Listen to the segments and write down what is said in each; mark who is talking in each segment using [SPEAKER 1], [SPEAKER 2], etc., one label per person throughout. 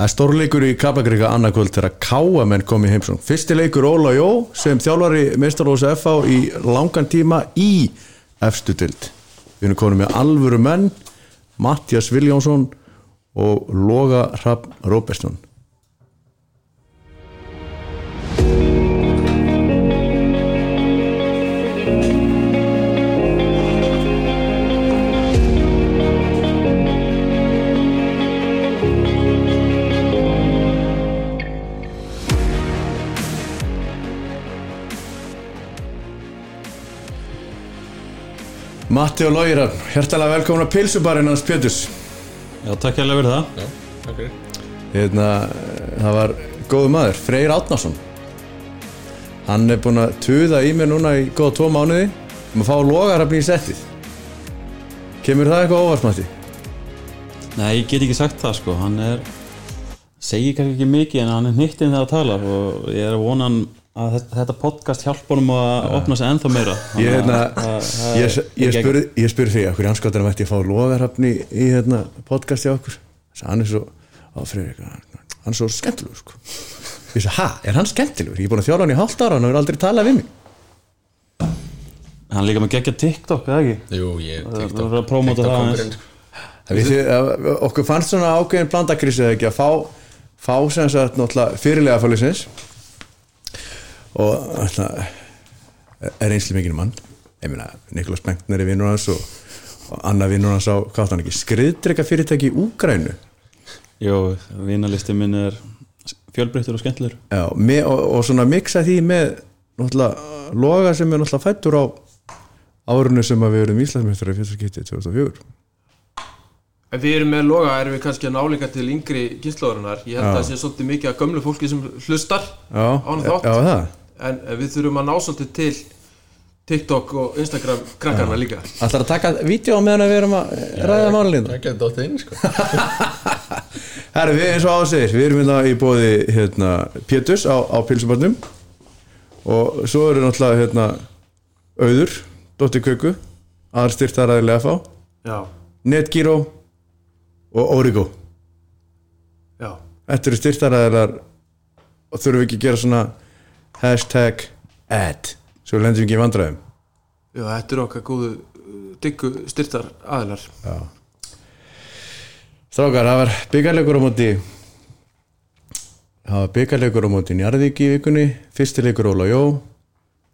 [SPEAKER 1] Það er stórleikur í Kaplakrika annarkvöld þegar Káamenn kom í heimsum. Fyrsti leikur Óla Jó sem þjálfari meistarlósa FH í langan tíma í efstu dild. Við erum konum með alvöru menn, Mattias Viljánsson og Loga Hrafn Róbersson. Matti og Logi Hrafn, hjertalega velkomin að pilsubarinn hans Péturs.
[SPEAKER 2] Já, takk hérlega fyrir það
[SPEAKER 3] Já, takk fyrir
[SPEAKER 1] hérna, það var góðu maður, Freyr Átnarsson hann er búinn að tuða í mér núna í góða tvo mánuði um að fá logarafni í settið kemur það eitthvað óvart Matti?
[SPEAKER 2] Nei, ég get ekki sagt það sko Hann er, segir kannski ekki mikið en hann er nýttinn þegar það talar og ég er að vona hann að þe- þetta podcast hjálpa honum að opna sig ennþá meira
[SPEAKER 1] ég,
[SPEAKER 2] Þannig
[SPEAKER 1] hérna,
[SPEAKER 2] að- að- að-
[SPEAKER 1] ég, ég,
[SPEAKER 2] gegn-
[SPEAKER 1] spurði, ég spurði þig okkur anskotanum ætti ég að fá logarafni í hérna, podcasti okkur Þessi, hann er svo, á Freyr eitthvað, hann er svo skemmtilegur sko. ég sagði, hæ, er hann skemmtilegur? ég er búinn að þjála hann í hálft ára, hann hefur aldrei talað við mig
[SPEAKER 2] Hann er líka með geggja TikTok, eða ekki?
[SPEAKER 3] Jú, ég
[SPEAKER 2] Það verður að prómóta það aðeins.
[SPEAKER 1] Við, þið, okkur fannst svona ákveðin blandakrísið ekki að fá, fá sem sagt náttúrulega fyrirlega fólisins og náttúrulega er einsli mikið mann ég meina, Niklas Bengtner er vinnur hans og, og annar vinnur hans á, hvað átti hann ekki skriðdreika fyrirtæki í Úgrænu
[SPEAKER 2] Jó, vínalisti minn er fjölbreyttur og skemmtilegur
[SPEAKER 1] Já, með, og, og svona miksa því með náttúrulega loga sem er náttúrulega fættur á árunu sem að við erum Íslandsmeistrar í fyrstaskipti 2004
[SPEAKER 4] En við erum með loga, erum við kannski að náleika til yngri kynnslóðurinnar Ég held
[SPEAKER 1] Já.
[SPEAKER 4] að það sé svolítið mikið að gömlu fólki sem hlustar
[SPEAKER 1] Já,
[SPEAKER 4] Án
[SPEAKER 1] já
[SPEAKER 4] þátt.
[SPEAKER 1] það
[SPEAKER 4] En en við þurfum að ná svolítið til TikTok og Instagram krakkarna líka
[SPEAKER 1] Ætlar að taka vídeo á meðan að við erum að ræða málinu
[SPEAKER 3] Það getur dóttið inn, sko
[SPEAKER 1] Herri, við eins og ásegir, við erum hérna í bóði hérna, Péturs á, á pilsubarnum og svo eru náttúrulega hérna, Auður, Dóttir Köku, aðra styrtaræðilega fá,
[SPEAKER 4] Já,
[SPEAKER 1] Netgyro og Origo.
[SPEAKER 4] já,
[SPEAKER 1] Þetta eru styrtaræðilegar og þurfum við ekki að gera svona hashtag ad, svo við lendum við ekki í vandræðum.
[SPEAKER 4] já, þetta eru okkar góðu uh, diggu styrtar aðilar
[SPEAKER 1] Strákar, það var byggarleikur á móti það var byggarleikur á móti Njarðvík í vikunni, fyrstileikur Óla Jó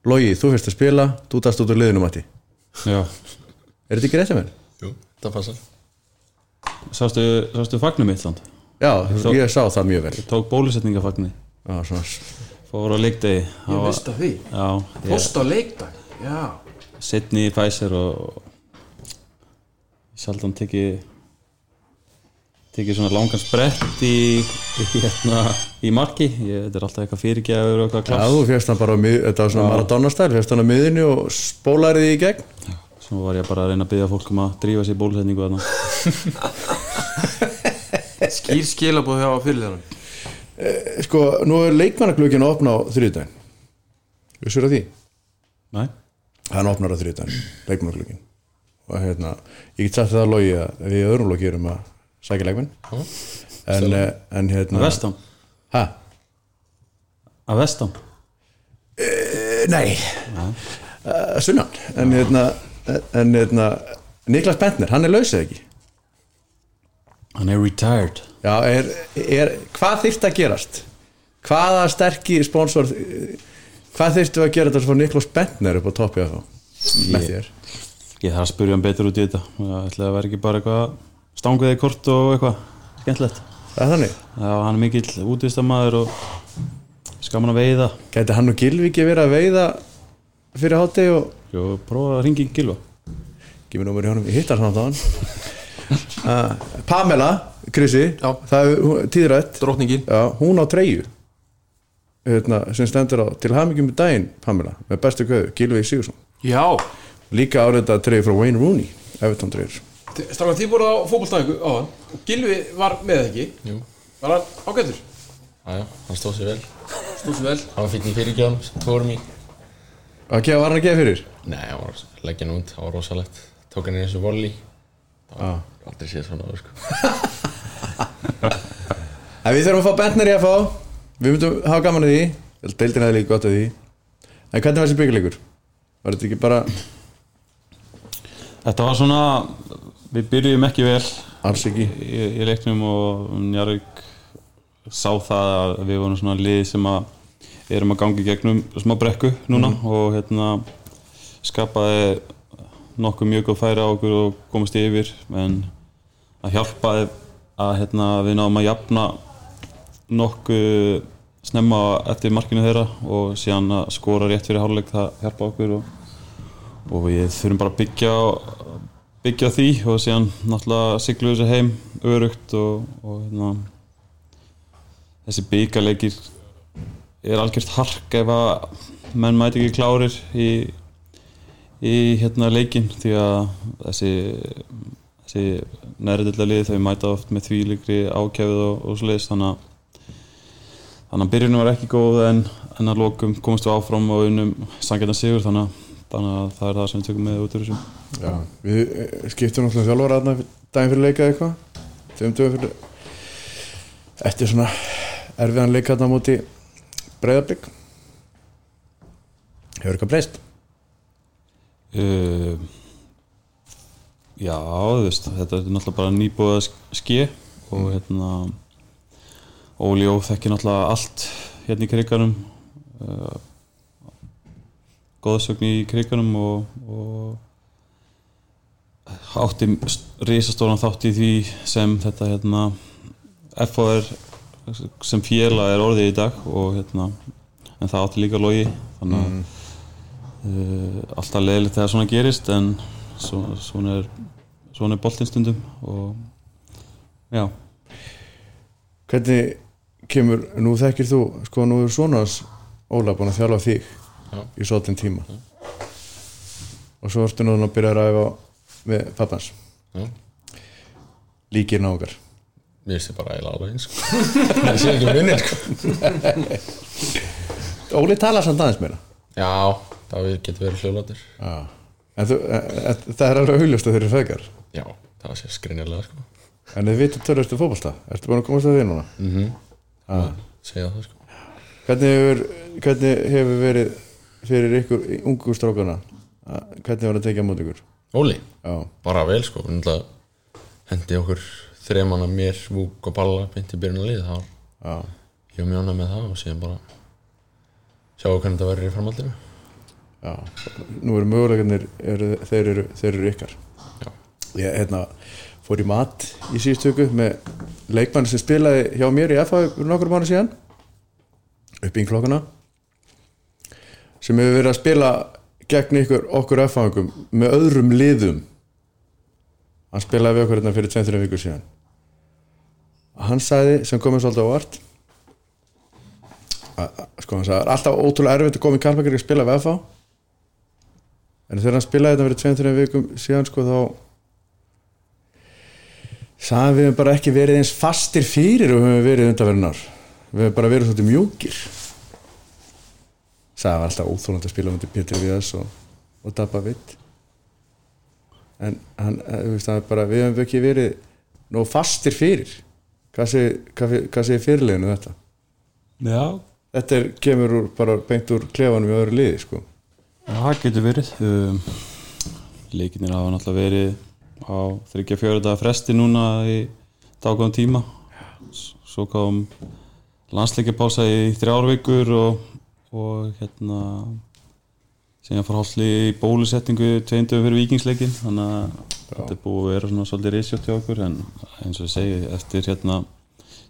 [SPEAKER 1] Logi, þú fyrst að spila þú dast út úr liðinu Matti
[SPEAKER 2] Já,
[SPEAKER 1] Er þetta ekki rétt að mér?
[SPEAKER 3] Jú, það passar
[SPEAKER 2] sástu, sástu fagnum mitt land
[SPEAKER 1] Já, ég sá það mjög vel Já,
[SPEAKER 2] Tók bólusetningafagni
[SPEAKER 1] svona,
[SPEAKER 2] Fór á leikdegi Það
[SPEAKER 4] Ég
[SPEAKER 2] var-
[SPEAKER 4] veist að því
[SPEAKER 2] Já, ég-
[SPEAKER 4] Post á leikdag, já
[SPEAKER 2] setni í Pfizer og sjaldan tekið tekið svona langan sprett í, í, hérna, í marki ég, þetta er alltaf eitthvað fyrirgjafur og eitthvað
[SPEAKER 1] já,
[SPEAKER 2] klass
[SPEAKER 1] þú fyrst hann bara á mið, þetta var svona Maradona-stæl, fyrst hann á miðinu og spólaði því í gegn
[SPEAKER 2] svo var ég bara að reyna að byggja fólk um að drífa sér í bólusetningu þarna
[SPEAKER 4] Skýr skilabóð hjá fyrirljónum
[SPEAKER 1] Sko, nú er leikmannaglökin að opna á þriðdæn Vissur það því?
[SPEAKER 2] Nei?
[SPEAKER 1] hann opnar á þrjóðan leikmannaglögin og hérna, ég get sagt það að logi að við í öðrum loki erum að sækja leikmenn en, eh, en
[SPEAKER 2] að
[SPEAKER 1] hérna
[SPEAKER 2] vestan,
[SPEAKER 1] ha?
[SPEAKER 2] að vestan
[SPEAKER 1] Eh, nei uh, sunnan en hérna, en hérna Niklas Bentner, hann er lausið ekki
[SPEAKER 2] hann er retired
[SPEAKER 1] Já, er, er, hvað þyrfti að gerast? hvaða sterki sponsor eh, hvað þyrftu að gera þetta svo Niklas Bentner upp á toppi af þá með
[SPEAKER 2] Ég-
[SPEAKER 1] þér
[SPEAKER 2] ég þarf að spurja hann betur út í þetta ég ætla að vera ekki bara eitthvað stanguðið kort og eitthvað skemmtilegt
[SPEAKER 1] það er þannig
[SPEAKER 2] Já, hann er mikill útvistamæður og skaman að veiða
[SPEAKER 1] Gæti hann og Gilvi ekki verið að veiða fyrir hátegi og
[SPEAKER 2] Jó, prófa að ringi í Gilva
[SPEAKER 1] Gimmi númur í honum, ég hittar hann á hann uh, Pamela, Krissi
[SPEAKER 4] Já.
[SPEAKER 1] það er hún- tíðrætt
[SPEAKER 4] Drottningin
[SPEAKER 1] Já, hún á treyju hérna, sem stendur á til hamingjum í daginn Pamela, með bestu kveðu, Gilvi Sigursson
[SPEAKER 4] Já,
[SPEAKER 1] líka áreitað treyju frá Wayne Rooney Everton treyjur
[SPEAKER 4] Strákan, þið voruð á fótbollstæðingu á hann og Gilvi var með ekki
[SPEAKER 3] Jú,
[SPEAKER 4] Var hann ágættur?
[SPEAKER 3] aðja, hann stóð sér vel Hann
[SPEAKER 4] Stóð svo vel
[SPEAKER 3] var fyrir í fyrirgjáðum sem þú vorum í
[SPEAKER 1] Ok, var hann að gefa fyrir?
[SPEAKER 3] Nei, hann var að leggja hann út, hann var rosalegt Tók hann í þessu volley Það var aldrei séð svona, áður, sko
[SPEAKER 1] En við þurfum að fá Bentner í að fá Við myndum hafa gaman að því Vel, Deildin hefði líka gott að því En hvernig var þessi byggarleikur? Var þetta ekki bara
[SPEAKER 2] Þetta var svona, við byrjum ekki vel
[SPEAKER 1] alls ekki?
[SPEAKER 2] í, í leiknum og Njarvík sá það að við vorum svona lið sem að erum að gangi gegnum smá brekku núna og hérna skapaði nokkuð mjög góð færi á okkur og komast yfir en að hjálpaði að hérna, við náðum að jafna nokkuð snemma eftir markinu þeirra og síðan að skora rétt fyrir háluleik það hjálpa okkur og, og við þurfum bara að byggja á- byggja á því og síðan náttúrulega siglu þessu heim örugt og, og hérna, þessi byggarleikir er algjört hark ef að menn mæti ekki klárir í, í hérna leikin því að þessi, þessi næriðillalið þau mæta oft með þvílíkri ákjafið og, og svoleiðis þannig að Þannig að byrjunum var ekki góð en, en að lokum komumst við áfram og unnum sangjarnar sigur þannig að, þannig að það er það sem við tökum með út úr þessum.
[SPEAKER 1] Já, við eh, skiptum náttúrulega þjálfara aðna daginn fyrir leika eitthvað tveim dögum fyrir eftir svona erfiðan leika aðna múti breyðarbygg hefur eitthvað breyst
[SPEAKER 2] Uh, já, þú veist, þetta er náttúrulega bara nýbúið að sk- ske og hérna Óli Ó þekkir náttúrulega allt hérna í kriganum uh, góðsögn í kriganum og, og átti risastóran þátt í því sem þetta hérna FOR sem félag er orðið í dag og hérna en það átti líka logi þannig að uh, alltaf leiðilegt þegar svona gerist en svo, svona er svona er boltinn stundum og já,
[SPEAKER 1] hvernig kemur, nú þekkir þú sko nú er svona hans Óla búin að þjálfa þig
[SPEAKER 3] Já.
[SPEAKER 1] í svolítinn tíma og svo ertu núna að byrja að ræfa með pappans
[SPEAKER 3] Já.
[SPEAKER 1] líkir náungar
[SPEAKER 3] Mér finnst þið bara eiginlega alveg eins sko. Ég sé ekki um vinni sko.
[SPEAKER 1] Óli talar samt aðeins meira
[SPEAKER 3] Já, það getur verið hljóðlátur
[SPEAKER 1] Já. En þú, en, en, það er alveg auðljóst að þeir eru feðgar
[SPEAKER 3] Já, það sé skrinnilega sko.
[SPEAKER 1] En þið vita tölustu fótbolta Ertu búin að komast að því núna?
[SPEAKER 3] mm
[SPEAKER 1] Ah.
[SPEAKER 3] Segja það sko.
[SPEAKER 1] Hvernig, hefur, hvernig hefur verið fyrir ykkur ungu strákana að- Hvernig var að tekja á móti ykkur?
[SPEAKER 3] Óli,
[SPEAKER 1] Já,
[SPEAKER 3] bara vel sko Hún ætla- Hendi okkur þremanna mér, vúk og balla Bint í byrjun að liða þá
[SPEAKER 1] já
[SPEAKER 3] Ég var mjóna með það og síðan bara Sjáu hvernig það verður í framhaldinu
[SPEAKER 1] Já, nú eru möguleikarnir eru, þeir, eru, þeir eru ykkar
[SPEAKER 3] Já.
[SPEAKER 1] Ég hérna, fór í mat í síðustu viku með leikmann sem spilaði hjá mér í FH fyrir nokkur mánu síðan upp í klokkuna sem hefur verið að spila gegn ykkur okkur FH-ingum með öðrum liðum hann spilaði við okkur hérna fyrir 2-3 vikur síðan hann sagði sem komið svolítið á vart sko hann sagði, "Það er alltaf ótrúlega erfitt að koma í Karpakir og spila við FH en þegar hann spilaði þetta fyrir 2-3 vikum síðan sko þá sagði hann, við hefum bara ekki verið eins fastir fyrir og við hefum verið undanverðinar við hefum bara verið svolítið mjúkir sagði hann var alltaf óþólandi að spila myndi Pétur Viðas og, og Dabba Vitt en hann, eh, þú veist, það er bara við hefum ekki verið nóg fastir fyrir hvað segir, hvað, hvað segir fyrirleginu þetta?
[SPEAKER 2] já.
[SPEAKER 1] þetta er, kemur úr, bara beint úr klefanum í öðru liði sko
[SPEAKER 2] það getur verið um, leikinir hafa náttúrulega verið á 34 daga fresti núna í dágóðum tíma S- svo kom landsleikjapása í þrjár vikur og, og hérna sem ég fór hálfli í bólusetningu tveindu fyrir vikingsleikin þannig að þetta er búið að vera svona svolítið risjótt hjá okkur en eins og ég segi eftir hérna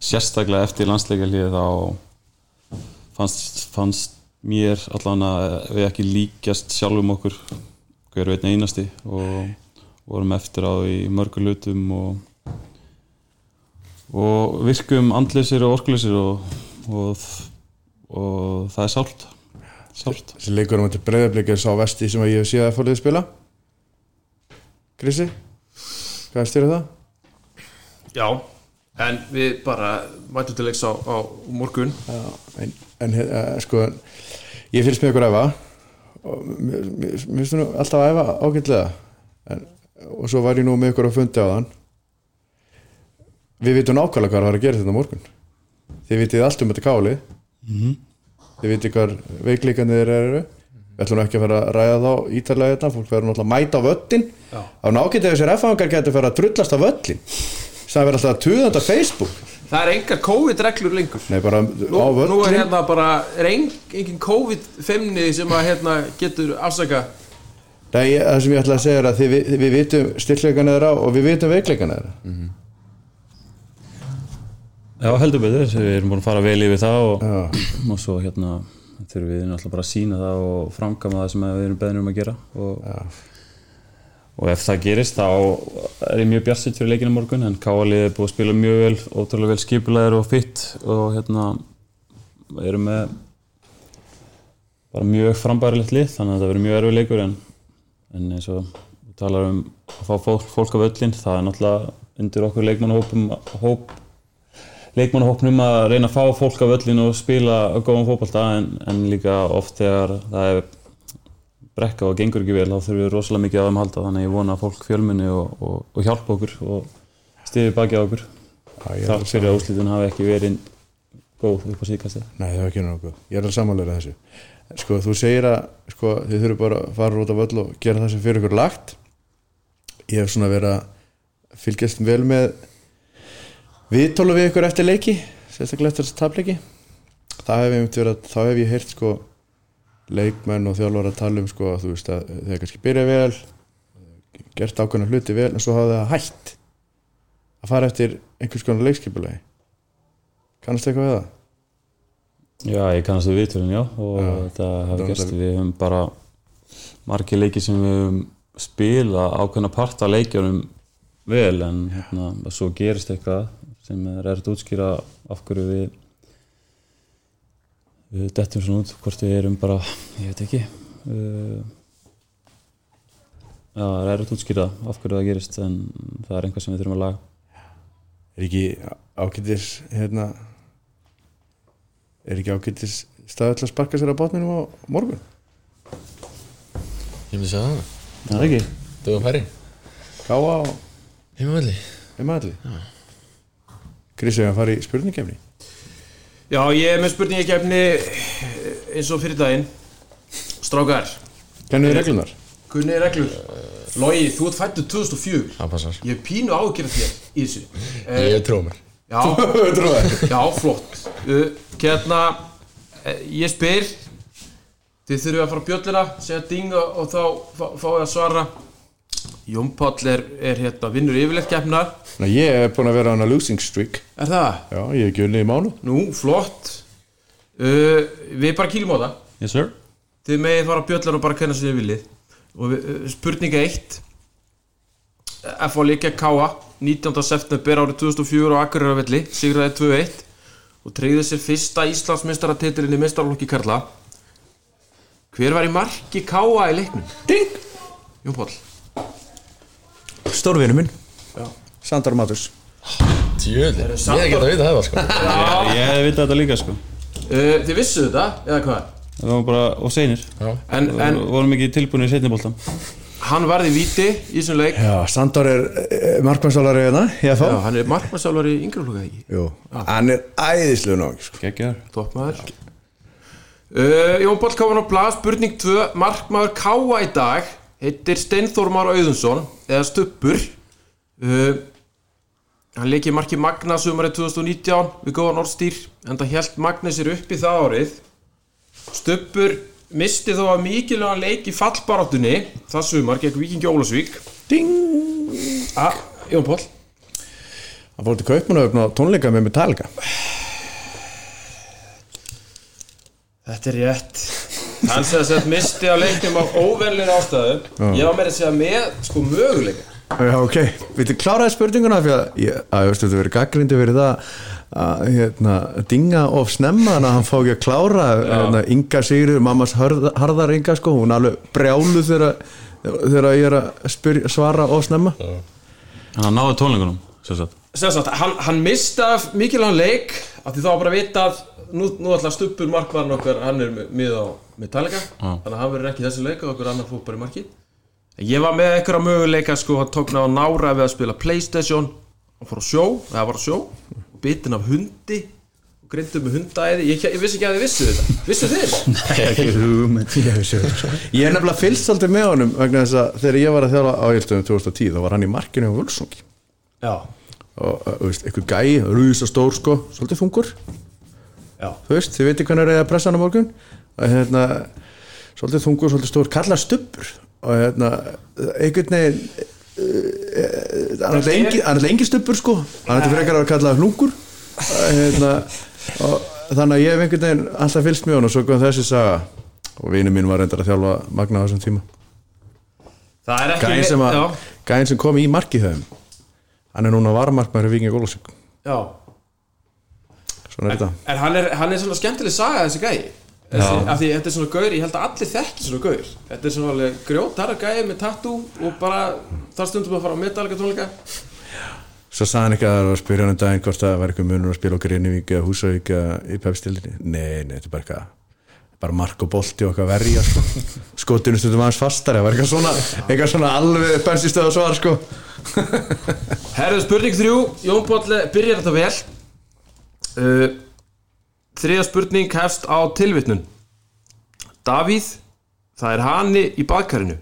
[SPEAKER 2] sérstaklega eftir landsleikalið þá fannst, fannst mér allan að við ekki líkjast sjálfum okkur hver veit einasti og vorum eftir á í mörgu lutum og og virkum andleysir og orkuleysir og, og, og það er sált sált
[SPEAKER 1] þessi leikur um þetta breyðablík er sá vesti sem að ég hef séð að fólkið spila Krissi hvað er styrðu það?
[SPEAKER 4] Já, en við bara mætum til leiks á, á morgun
[SPEAKER 1] en, en uh, sko ég fylgst með ykkur æfa og mér mér- mér finnst nú alltaf að æfa ágætlega en, og svo var ég nú með ykkur að fundi á þann við vitum nákvæmlega hvað var að gera þetta á morgun þið vitið allt um þetta káli þið vitið hvar veikleikarnir þeir eru við ætlum nú ekki að fara að ræða þá ítarlega þetta fólk verður náttúrulega að mæta á völlin
[SPEAKER 4] Já.
[SPEAKER 1] á nákvæmt ef þessir F-fangar getur fara að drullast á völlin það verður alltaf að tuðanda Facebook
[SPEAKER 4] Það er engar COVID-reglur lengur
[SPEAKER 1] nei bara
[SPEAKER 4] Nú,
[SPEAKER 1] á
[SPEAKER 4] nú er
[SPEAKER 1] völlin
[SPEAKER 4] hérna bara er ein, engin COVID-femni sem að hérna getur afsaka
[SPEAKER 1] Nei, ég- það sem ég ætla að segja er að þið, vi- við vitum styrkleikana þeirra og við vitum veikleikana þeirra
[SPEAKER 2] Já, heldur betur, við erum búin að fara vel yfir það og,
[SPEAKER 1] Já.
[SPEAKER 2] og svo hérna þurfum við náttúrulega bara að sína það og framkama það sem við erum beðnir um að gera og, og ef það gerist þá er ég mjög bjartsitt fyrir leikinu morgun en Káalið er búið að spila mjög vel, ótrúlega vel skipulæðir og fitt og hérna erum með bara mjög frambærilegt lið þannig að það verður mjög erfið leikur en, en eins og við talar um að fá fólk, fólk af öllin það er náttúrulega undir okkur leikmannahópum hóp leikmannahópnum að reyna að fá fólk af öllin og spila góðan fótballta en, en líka oft þegar það er brekka og gengur ekki vel þá þurfum við rosalega mikið á þeim að halda þannig að ég vona að fólk fjölmunni og, og, og hjálpa okkur og stiði baki á okkur
[SPEAKER 1] Já, ég er
[SPEAKER 2] þrátt fyrir að úslitin hafi ekki verið góð upp á síðkastið
[SPEAKER 1] Nei, það var ekki nokkuð. Ég er alveg samanlega þessu. Sko, þú segir að sko, þið þurfum bara að fara út af öll og gera það sem fyrir ykkur er lagt. Ég hef svona verið að fylgjast vel með viðtólu við ykkur eftir leiki, sérstaklega eftir þessi tapleiki. Það hef ég einmitt verið að, þá hef ég heyrt sko leikmenn og þjálfur að tala um sko að þú veist að þeir kannski byrja vel, gert ákveðna hluti vel en svo hafa það hætt að fara eftir einhvers konar leikskipulegi. Kannast eitthvað við það?
[SPEAKER 2] Já, ég kannast við viðtölinn, já og
[SPEAKER 1] Já,
[SPEAKER 2] þetta
[SPEAKER 1] þetta
[SPEAKER 2] hafi
[SPEAKER 1] er
[SPEAKER 2] gerst,
[SPEAKER 1] náttúrulega-
[SPEAKER 2] við höfum bara margir leiki sem við höfum spila ákveðna part af leikjunum vel en hérna, svo gerist eitthvað sem er erfitt að útskýra af hverju við við dettum svona út hvort við erum bara, ég veit ekki uh, Já, það er erfitt að útskýra af hverju það gerist en það er einhvað sem við þurfum að laga
[SPEAKER 1] er ekki ágætis hérna er ekki ágætis staðið til að sparka sér á bátninum á morgun
[SPEAKER 3] Ég myndi segja það
[SPEAKER 2] Það er ekki
[SPEAKER 3] Dögum færi
[SPEAKER 1] káa á
[SPEAKER 3] Heimavalli
[SPEAKER 1] heimaðalli Kristján hefur að fara í spurningkefni
[SPEAKER 4] Já, ég er með spurningakefni eins og fyrir daginn Strákar,
[SPEAKER 1] kennu þið reglunar
[SPEAKER 4] kunni reglur Logi, þú ert fættur 2004
[SPEAKER 3] Það passar
[SPEAKER 4] Ég er pínu ágjörð þér í þessu Eh,
[SPEAKER 3] Ég trú mér
[SPEAKER 4] Já,
[SPEAKER 1] Trúðar.
[SPEAKER 4] já, flott Uh, Hérna, eh, ég spyr Þið þurfum að fara á bjöllina, segja ding og og þá fá- fáið að svara Jón Páll er, er hérna, vinnur yfirleitt keppnar
[SPEAKER 1] Ná, ég hef búin að vera á hana losing streak
[SPEAKER 4] Er það?
[SPEAKER 1] já, ég hef ekki unnið í mánu
[SPEAKER 4] Nú, flott uh, Við bara kýlum á það
[SPEAKER 2] Yes sir
[SPEAKER 4] Þið megið fara á bjöllar og bara kenna sér viljið Og við, uh, spurninga 1 F.A. leikja K.A. 19. september árið 2004 á Akureyravelli Sigraði 2-1 Og treyði sér fyrsta Íslandsmeistaratitilinn í meistarlokki Karla Hver var í marki K.A. í leiknum?
[SPEAKER 1] ding
[SPEAKER 4] Jón Páll
[SPEAKER 1] stórvinu minn Sandar Matus
[SPEAKER 3] Djöðli Ég er ekki að vita það var sko
[SPEAKER 2] Ég, ég hefði vitað þetta líka sko
[SPEAKER 4] uh, Þið vissuðu þetta, eða hvað?
[SPEAKER 2] Við varum bara og seinir
[SPEAKER 3] Já
[SPEAKER 4] En, en
[SPEAKER 2] Við vorum ekki tilbúinir í setniboltan
[SPEAKER 4] hann varði víti í þessum leik
[SPEAKER 1] já, Sandar er eh, markmannstálari hérna ég
[SPEAKER 4] Já,
[SPEAKER 1] fá
[SPEAKER 4] hann er markmannsálvar í yngri hluka ekki
[SPEAKER 1] Jú, hann er æðislu nóg sko.
[SPEAKER 2] Gekkjar
[SPEAKER 4] Toppmaður uh, Jón Páll Káman á blað Spurning 2 Markmaður Káa í dag Heitir Steinþór Már Auðunsson Eða Stubbur uh, Hann leikið marki Magna Sumarið 2019 Við góðan orðstýr En það held Magna sér upp í það árið Stubbur misti þó að mikilvægan leik í fallbaráttunni Það sumar gegn Víkingi Ólasvík
[SPEAKER 1] ding
[SPEAKER 4] ah, Jón Páll
[SPEAKER 1] hann fór til Kaupmannahöfn á tónleika með Metallica
[SPEAKER 4] Þetta er rétt Hann sem sagt misti á leiknum af óvenlir ástæðu Ég var meira að segja með sko möguleika
[SPEAKER 1] Já, ok, við þið kláraði spurninguna fyrir að, ég, að ég veist, þú verið gaggrindi fyrir það að hérna, dinga of snemma þannig að hann fá ekki að klára hérna, Inga Sigriður, mammas hörð- harðar Inga sko, hún er alveg brjálu þegar þegar ég er að spyr, svara of snemma
[SPEAKER 2] Hann náði tónleikunum sem sagt.
[SPEAKER 4] Sem sagt, hann, hann misti af mikilvægan leik af því þá var bara að vita að nú, nú ætla stuppur markvarn okkar hann er með- með á Metallica þannig að hann verður ekki í þessu leik og okkur annar fór bara í markið Ég var með einhverja möguleika sko, hann tókna á nára við að spila Playstation hann fór á sjó, eða var á sjó og bitin af hundi og og grindum með hundaæði ég, ég vissi ekki að þið vissu þetta vissu þið?
[SPEAKER 2] ekki hugmynd
[SPEAKER 1] Ég hef séð það. Ég hef nefnilega fylgst aldrei með honum vegna þess að þegar ég var að þjála á Ílstöðum 2010 þá var hann í markinu á Völsungi
[SPEAKER 5] já,
[SPEAKER 1] og uh, þú veist, einhver gæi, rúsa stór sko svolítið þungur,
[SPEAKER 5] já,
[SPEAKER 1] þú veist, þið veitir hvernig er að pressa hann á morgun og hérna, svolítið þungur, svolítið stór kallar stubbur og hérna, einhvern veginn uh, uh, hann er lengi, hann er lengi stubbur sko hann er frekar að kalla hlungur og hérna, og þannig að ég hef einhvern veginn alltaf fylgst með honum og svo kom þessi saga og vinur mín var reyndar að þjálfa Magna á þessum tíma
[SPEAKER 4] það er ekki
[SPEAKER 1] gæðin sem, að-
[SPEAKER 4] já,
[SPEAKER 1] gæinn sem kom í markið höfum hann er núna varamarkmaður í Vingi Gólasík
[SPEAKER 4] já.
[SPEAKER 1] svona er þetta
[SPEAKER 4] en hann er, hann er svona skemmtileg saga þessi gæi þessi, af því þetta er svona gaur, ég held að allir þekki svona gaur þetta er svona alveg grjótarra gæi með tattoo og bara þar stundum að fara á metalika tónleika
[SPEAKER 1] svo sagði hann ekki að það var að spyrja hann um daginn hvort það var eitthvað munur að spila okkur Innivík eða Húsavík eða í pepstildinni nei, nei, þetta er bara eitthvað bara mark og bolti og eitthvað verja sko. skotinu stundum aðeins fastar það var eitthvað svona, eitthvað svona alveg bensistöð og svar sko
[SPEAKER 4] Herðu spurning þrjú, Jón Páll byrjar þetta vel uh, Þriða spurning hefst á tilvitnun Davíð, það er hanni í baðkarinu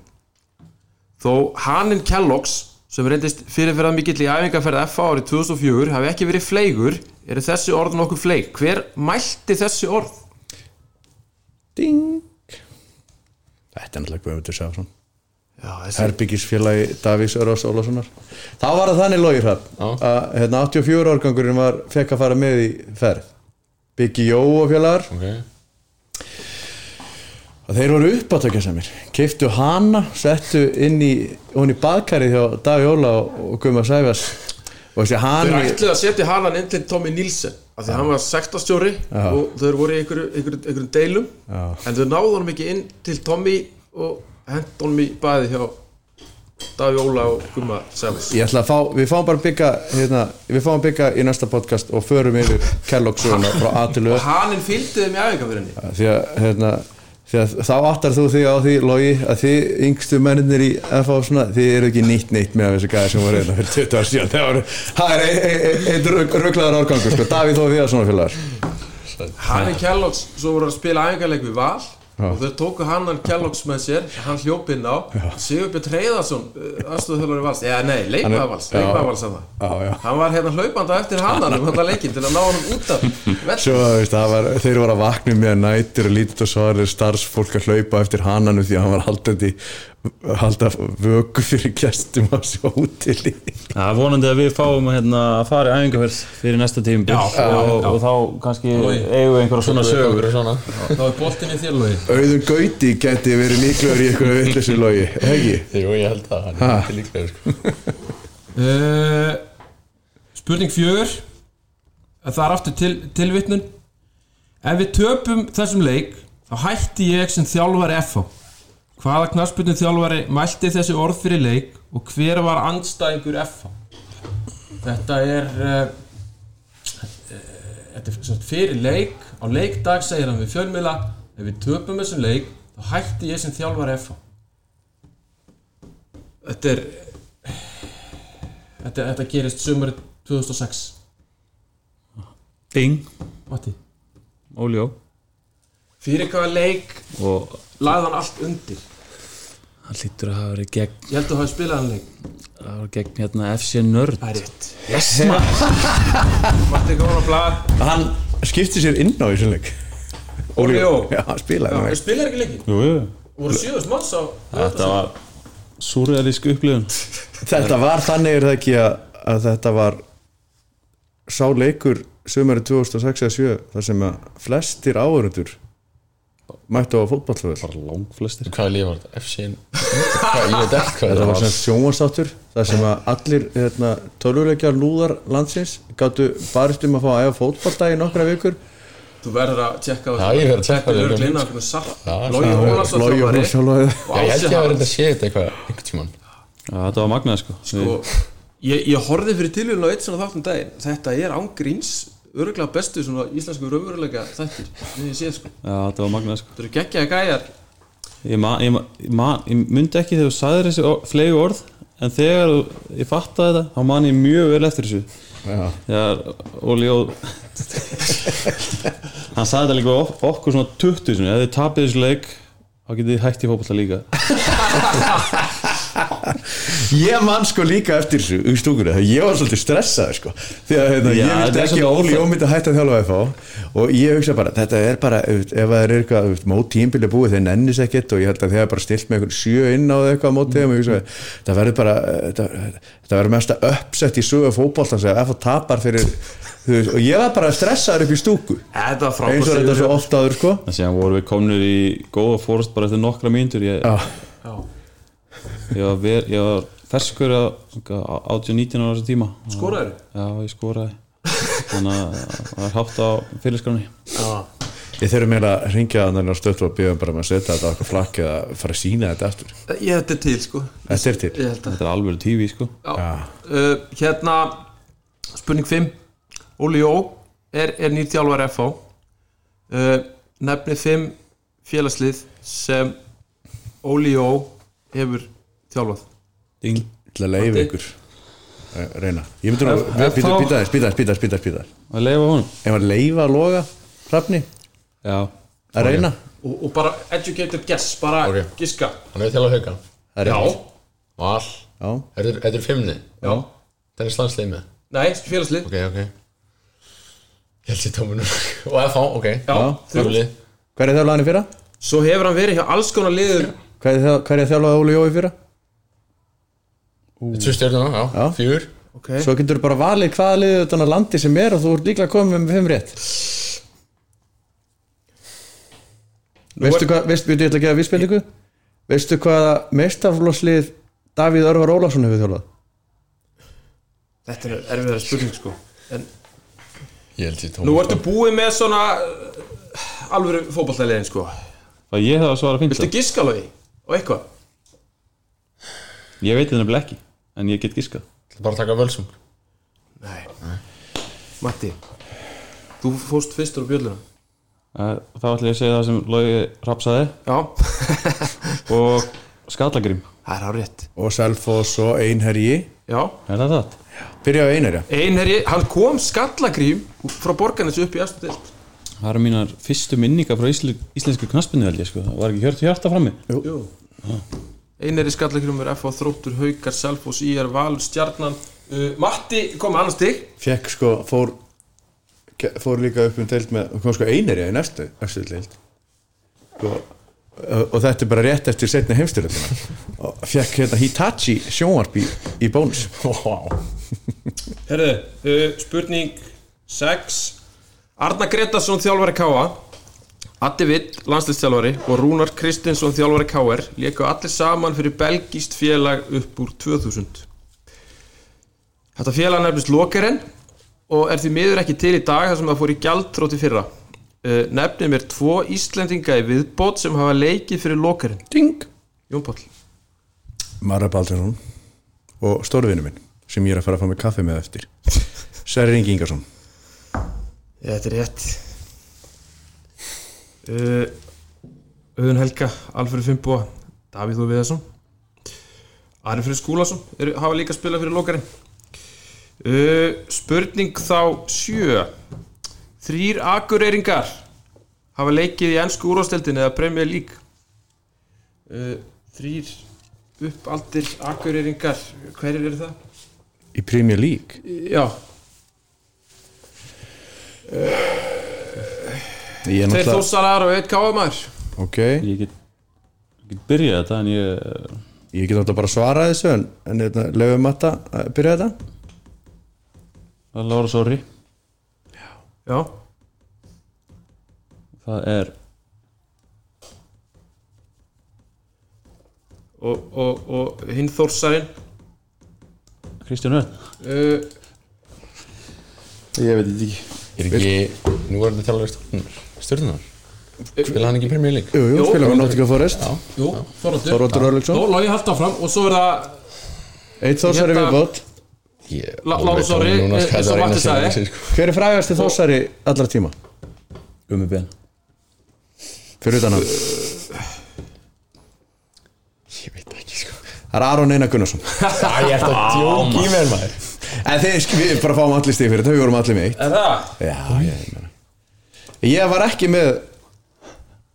[SPEAKER 4] Þó hannin Kellogg's sem reyndist fyrirferðað mikill í æfingarferð FA árið 2004 hafi ekki verið fleigur eru þessi orð nokkuð fleig Hver mælti þessi orð?
[SPEAKER 1] ding þetta er náttúrulega Guðmundur Sáfsson
[SPEAKER 4] Já, þessi
[SPEAKER 1] herbyggisfélagi Davís Örvars Ólafssonar þá var það þannig logið hrapp
[SPEAKER 3] Já.
[SPEAKER 1] að hérna, 84 árgangurinn var fekk að fara með í ferð Byggi Jó og félagar
[SPEAKER 3] ok
[SPEAKER 1] og þeir voru uppátökja samir keiftu hana, settu inn í hún í baðkarið hjá Daví Óla og, og Guðmar Sæfars og þessi
[SPEAKER 4] Þeir
[SPEAKER 1] hana
[SPEAKER 4] ætluðu að setja hanan inn til Tommy Nilsen af því hann var sektastjóri og þeir voru í einhverju, einhverju, einhverjum deilum
[SPEAKER 1] Já.
[SPEAKER 4] en þau náðu honum ekki inn til Tommy og hent honum í baði hjá Daví Óla og Gumma Sæfus
[SPEAKER 1] ég ætla að fá, við fáum bara bygga hérna, við fáum bygga í næsta podcast og förum yfir Kelloggssöguna frá A til Ö
[SPEAKER 4] og hanin fylgdi þeim í æfingarfyrinni
[SPEAKER 1] því að, hérna, því að þá áttar þú þig á því logi að þið yngstu mennir í FH svona, þið eru ekki nýtt neitt með þessi gæði sem voru hérna fyrir 20 ára síðan það, voru, það er e- einn ein, ein, ein rugglaðar árgangur sko, Davíð Þófi og svona félagar
[SPEAKER 4] Hanin Kelloggs, svo voru að spila æfingarleik við Val og þeir tóku hannan Kelloggs með sér hann hljóp inn á Sigurbjörn Treyðarsson, aðstofþjóðlari Vals eða nei,
[SPEAKER 1] Hann er-
[SPEAKER 4] leikmaður Vals,
[SPEAKER 1] Já.
[SPEAKER 4] leikmaður Vals hann það.
[SPEAKER 1] já, já.
[SPEAKER 4] hann var hérna hlaupanda eftir hannan um þetta leikin til að ná honum út af velli.
[SPEAKER 1] Svo, veist, það var, þeir voru að vakna um með að nættir og lítið og svarir starfsfólk að hlaupa eftir hananum því að hann var haldandi halda vöku fyrir gestum á sjá útili
[SPEAKER 2] Já, vonandi að við fáum hérna, að fara í æfingarferð fyrir næsta tíum já, og, og, þá kannski eigum við einhverja svona sögur
[SPEAKER 3] Einhverja svona
[SPEAKER 4] Þá er boltin í þér logi
[SPEAKER 1] Auðun Gauti geti verið líklegur í einhverju villisu logi, hegi?
[SPEAKER 3] Jú, ég held það, hann er ekki líklega sko.
[SPEAKER 4] Uh, spurning fjögur Það er aftur til, tilvitnun Ef við töpum þessum leik þá hætti ég sem þjálfari FH Hvaða knarsbyrnum þjálfari mælti þessi orð fyrir leik og hver var andstæðingur FH Þetta er uh, uh, Þetta er sem sagt fyrir leik á leikdag segir hann við fjölmiðla Ef við töpum þessum leik þá hætti ég sem þjálfari FH Þetta er Þetta, þetta gerist sumarið 2006
[SPEAKER 2] Ding,
[SPEAKER 4] Matti
[SPEAKER 2] óljó
[SPEAKER 4] Fyrir hvaða leik
[SPEAKER 2] og
[SPEAKER 4] lagði hann allt undir
[SPEAKER 2] hann lítur að hafa verið gegn,
[SPEAKER 4] Ég held að hafa spilað hann leik
[SPEAKER 2] að hafa verið gegn hérna, FC Nörd
[SPEAKER 4] Það er rétt Yes man Matti kom hann að blaða
[SPEAKER 1] hann skipti sér inn á í sannleik
[SPEAKER 4] Óli Jó
[SPEAKER 1] Já, hann spilaði hann
[SPEAKER 4] Ég spilaði ekki leikin
[SPEAKER 2] Jú, jú.
[SPEAKER 4] Voru síðust manns á
[SPEAKER 2] Þetta var súrrealísk upplifun
[SPEAKER 1] Þetta var þannig er það ekki að, að þetta var sá leikur sömari 2006 eða 7 þar sem að flestir áhörundur mættu á fótballföður
[SPEAKER 2] bara langflestir
[SPEAKER 3] Hvað líf var þetta? FC Hvað, ég veit ekki hvað
[SPEAKER 1] Þetta
[SPEAKER 3] þetta
[SPEAKER 1] var
[SPEAKER 3] var
[SPEAKER 1] sem sjónvarsáttur þar sem að allir hérna, tölvuleikjar lúðar landsins gáttu barist um að fá að æfa fótballta í nokkra vikur
[SPEAKER 4] Þú verður að tjekka á
[SPEAKER 3] Já, ég verð að tjekka á
[SPEAKER 4] Þetta er
[SPEAKER 3] þessu.
[SPEAKER 4] örglinna Hvernig satt
[SPEAKER 3] Já,
[SPEAKER 4] Lógi
[SPEAKER 3] það-
[SPEAKER 4] Hólasson
[SPEAKER 1] Lógi og hún sjálfaði
[SPEAKER 3] Já, Ég held ég að vera þetta sé þetta eitthvað einhvern tímann
[SPEAKER 2] Já, þetta var magnað sko, sko.
[SPEAKER 4] Og ég, ég horfði fyrir tilvíðun á eitt svona þáttum daginn Þetta er ángríns Örgulega bestu svona íslensku raunveruleika þættir Nei, ég sé sko
[SPEAKER 2] Já, þetta var magnað sko.
[SPEAKER 4] Þetta eru geggjaði gæjar
[SPEAKER 2] ég, man, ég, man, ég, man, ég myndi ekki þegar þú sagðir þessi or, flegu orð en þegar þú- ég fattaði þetta þá man ég mjög vel eftir þessu
[SPEAKER 1] Já.
[SPEAKER 2] þegar Óli Jó Hann sagði þetta líka ok- okkur svona 20 sinni, ef þið tapið þessu leik þá getið þið hætt í fótballa líka
[SPEAKER 1] Ég man sko líka eftir þessu um stúkunni, þegar ég var svolítið stressaður sko því að hérna,
[SPEAKER 2] Já,
[SPEAKER 1] ég vildi
[SPEAKER 2] þetta er
[SPEAKER 1] ekki
[SPEAKER 2] svolítið
[SPEAKER 1] Óli
[SPEAKER 2] óþæ-
[SPEAKER 1] ómynd að hætta að þjálfa FH og ég hugsa bara, þetta er bara ef ef það er eitthvað, ef mót tímbili búið þeir nennis ekkert og ég held að þeir hafa bara stilt með einhvern sjö inn á eitthvað á mót þeim og ég hugsa, það verður bara þetta, þetta verður mesta uppsett í sögu fótboltans ef FH tapar fyrir þú veist, og ég var bara stressaður upp í stúku
[SPEAKER 4] Þetta var
[SPEAKER 1] eins og
[SPEAKER 4] frábært
[SPEAKER 1] þetta svo oft áður sko
[SPEAKER 2] en síðan vorum við komnir í góða fórst bara eftir nokkra mínútur ég,
[SPEAKER 1] Já,
[SPEAKER 2] ég, var, ver, ég var ferskur á 18-19 ára þessu tíma
[SPEAKER 4] Skoraðirðu?
[SPEAKER 2] Já, ég skoraði þannig að það var hátt á fyrirskráni
[SPEAKER 4] Já.
[SPEAKER 1] ég þurfum meira að ringja þannig að stöttu og bíðum bara um að setja þetta á okkur flakki að fara að sína þetta aftur
[SPEAKER 4] Ég þetta er til sko
[SPEAKER 1] Þetta er til
[SPEAKER 4] Ég held að
[SPEAKER 2] Þetta er alveg tífi sko
[SPEAKER 4] Já. Uh, Hérna Spurning 5 Óli Jó er, er nýr þjálfar FH uh, Nefni 5 félagslið sem Óli Jó hefur þjálfað
[SPEAKER 2] Ding.
[SPEAKER 1] til að leiða
[SPEAKER 4] Matti?
[SPEAKER 1] ykkur Eh, reyna ég myndi nú
[SPEAKER 2] Ef- ef
[SPEAKER 1] býta
[SPEAKER 2] þá-
[SPEAKER 1] þess, býta þess, býta þess, býta þess
[SPEAKER 2] Að leifa honum
[SPEAKER 1] ef maður leiða að loga hrafni
[SPEAKER 2] Já,
[SPEAKER 1] að reyna
[SPEAKER 4] og, og bara educated guess bara
[SPEAKER 3] Ok.
[SPEAKER 4] giska
[SPEAKER 3] Hann hefur þjálfað hauka
[SPEAKER 1] það er
[SPEAKER 4] Já,
[SPEAKER 1] rétt.
[SPEAKER 3] Val
[SPEAKER 1] já,
[SPEAKER 3] Þetta er- þetta er fimmni
[SPEAKER 4] já
[SPEAKER 3] Þetta er slansleið með
[SPEAKER 4] Nei, félagslið
[SPEAKER 3] Ok, ok Ég held sér tóminu Og FH, ok
[SPEAKER 4] Já, þrjú
[SPEAKER 3] Þrjúli
[SPEAKER 1] hvað er þjálfaðan í fyrra?
[SPEAKER 4] Svo hefur hann verið hjá alls konar liður
[SPEAKER 1] hvað er þjál- hvað er þjálfaðan Óli Jói í fyrra?
[SPEAKER 3] Tvö stjórnum, já
[SPEAKER 1] Já.
[SPEAKER 3] Fjúr
[SPEAKER 4] okay.
[SPEAKER 1] svo getur bara valið hvaða liðið utan að landi sem er og þú ert líklega komið með fimm rétt veistu hvað veist, veistu, ég ætla að gefa vísbendingu veistu hvaða meistaflosslið Davíð Örvar Ólafsson hefur þjálfað?
[SPEAKER 4] Þetta er erfiðara spurning sko en,
[SPEAKER 3] Ég held sér
[SPEAKER 4] Nú
[SPEAKER 3] tóminu
[SPEAKER 4] ertu búið með svona uh, alvöru fótballtæliðin sko
[SPEAKER 2] það ég hefði að svara fint
[SPEAKER 4] Viltu giska alveg og eitthvað?
[SPEAKER 2] Ég veit þetta nefnilega ekki, en ég get giskað
[SPEAKER 3] Bara að taka völsung
[SPEAKER 4] Nei. Matti Þú fórst fyrstur á bjölluna
[SPEAKER 2] Eh, Þá ætla ég að segja það sem Lógi rapsaði
[SPEAKER 4] Já
[SPEAKER 2] og skallagrím
[SPEAKER 4] Það er á rétt
[SPEAKER 1] og Selfoss og Einherji
[SPEAKER 4] Já
[SPEAKER 2] Er það það?
[SPEAKER 1] byrja á Einherja
[SPEAKER 4] Einherji, hann kom skallagrím frá borgarnes upp í eftir dild
[SPEAKER 2] Það eru mínar fyrstu minningar frá ísli, íslensku knaspinu held ég sko Það var ekki hjört hjarta frammi
[SPEAKER 4] Jú Einherji skallagrím er F.A. Þróttur, Haukar, Selfos, IR, Valur, Stjarnan uh, Matti kom annars til
[SPEAKER 1] fekk sko, fór ke- fór líka upp um deild með kom sko einari í næstu, næstu deild sko, og, og þetta er bara rétt eftir setni heimstyrjöldina og fekk hérna Hitachi sjónvarp í, í bónus wow.
[SPEAKER 4] Herðu, uh, spurning 6 Arna Gretarsson, þjálfari K.A. Addi Witt, landslistjálfari og Rúnar Kristinsson, þjálfari K.R. léku allir saman fyrir belgist félag upp úr 2000 Þetta félag nefnist Lokeren og er því miður ekki til í dag þar sem það fór í gjaldtróti fyrra uh, Nefnið mér tvo Íslendinga í viðbót sem hafa leikið fyrir Lokeren
[SPEAKER 1] Ding
[SPEAKER 4] Jón Páll
[SPEAKER 1] Mara Baldursson og stórvinu minn sem ég er að fara að fá mig kaffi með eftir Særi Ingi Ingarsson
[SPEAKER 4] Þetta er rétt uh, Auðun Helga, Alfred Fimboa Davíð Þú Viðarsson Ari Frið Skúlason eru, hafa líka spilað fyrir lokarinn uh, Spurning þá sjö Þrýr akureyringar hafa leikið í ennsku úrvasteldin eða Premier League uh, Þrýr uppaldir akureyringar Hverjir eru það?
[SPEAKER 1] í Premier League
[SPEAKER 4] Já,
[SPEAKER 1] ég er
[SPEAKER 4] þeir
[SPEAKER 1] náttúrulega
[SPEAKER 4] þósarar og eitt káðumar
[SPEAKER 1] ok,
[SPEAKER 2] Ég get, get byrjað þetta en ég eh,
[SPEAKER 1] ég get náttúrulega bara að svara þessu en, en hérna, lefum að byrja þetta
[SPEAKER 2] Það er Lára Sori
[SPEAKER 4] Já,
[SPEAKER 2] Það er
[SPEAKER 4] og, og, og hinn Þórsarinn
[SPEAKER 2] Kristján Örn
[SPEAKER 4] uh,
[SPEAKER 2] Ég veit þetta ekki
[SPEAKER 3] Er ekki Nú er þetta þjálfari stjórnunar Stjórnunar Spila hann ekki í Premier League
[SPEAKER 1] jú, jú,
[SPEAKER 4] Jú.
[SPEAKER 1] spilum við Nottingham Forest
[SPEAKER 4] Jú, Þorvaldur
[SPEAKER 1] Þorvaldur Örlöksson
[SPEAKER 4] Nú, Lógi haldt áfram og svo er það
[SPEAKER 1] Eitt þósari
[SPEAKER 4] Hérna-
[SPEAKER 1] viðbót
[SPEAKER 3] Ég-
[SPEAKER 4] Lá-
[SPEAKER 3] Nú veit
[SPEAKER 4] Lárus
[SPEAKER 3] hún
[SPEAKER 4] Orri,
[SPEAKER 3] núna
[SPEAKER 4] eh,
[SPEAKER 3] hvað
[SPEAKER 4] eins
[SPEAKER 3] það
[SPEAKER 4] og
[SPEAKER 3] er eina
[SPEAKER 4] Matti
[SPEAKER 3] sem
[SPEAKER 4] sagði.
[SPEAKER 3] hún segir, sko.
[SPEAKER 1] Hver er frægasti þósari allra tíma?
[SPEAKER 2] Gumi Ben
[SPEAKER 1] Fyrir utan hann
[SPEAKER 3] Ég veit ekki sko
[SPEAKER 2] sko.
[SPEAKER 1] Það er Aron Einar Gunnarsson
[SPEAKER 3] Æ, ég ert að djók í mér maður
[SPEAKER 1] En þeir, við bara fáum allir stig fyrir þetta, við vorum allir með eitt
[SPEAKER 4] Er það?
[SPEAKER 1] Já, ég meina Ég var ekki með